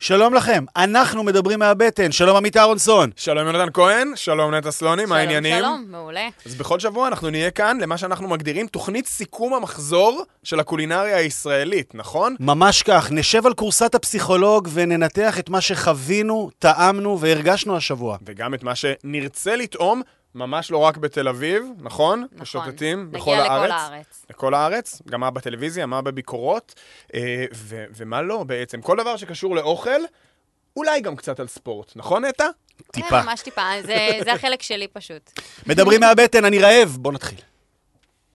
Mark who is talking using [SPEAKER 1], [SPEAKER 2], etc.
[SPEAKER 1] שלום לכם, אנחנו מדברים מהבטן. שלום עמית אהרונסון.
[SPEAKER 2] שלום יונתן כהן, שלום נטע סלונים, מה העניינים?
[SPEAKER 3] שלום, מעולה. נכון.
[SPEAKER 2] אז בכל שבוע אנחנו נהיה כאן למה שאנחנו מגדירים תוכנית סיכום המחזור של הקולינריה הישראלית, נכון?
[SPEAKER 1] ממש כך, נשב על כורסת הפסיכולוג וננתח את מה שחווינו, טעמנו והרגשנו השבוע.
[SPEAKER 2] וגם את מה שנרצה לטעום, ממש לא רק בתל אביב, נכון? נכון. משוטטים
[SPEAKER 3] נגיע
[SPEAKER 2] בכל
[SPEAKER 3] לכל
[SPEAKER 2] הארץ.
[SPEAKER 3] הארץ.
[SPEAKER 2] לכל הארץ, גם מה בטלוויזיה, מה בביקורות, אה, ו- ומה לא בעצם. כל דבר שקשור לאוכל, אולי גם קצת על ספורט, נכון נטע?
[SPEAKER 1] טיפה.
[SPEAKER 3] כן, ממש טיפה, זה, זה החלק שלי פשוט.
[SPEAKER 1] מדברים מהבטן, אני רעב, בוא נתחיל.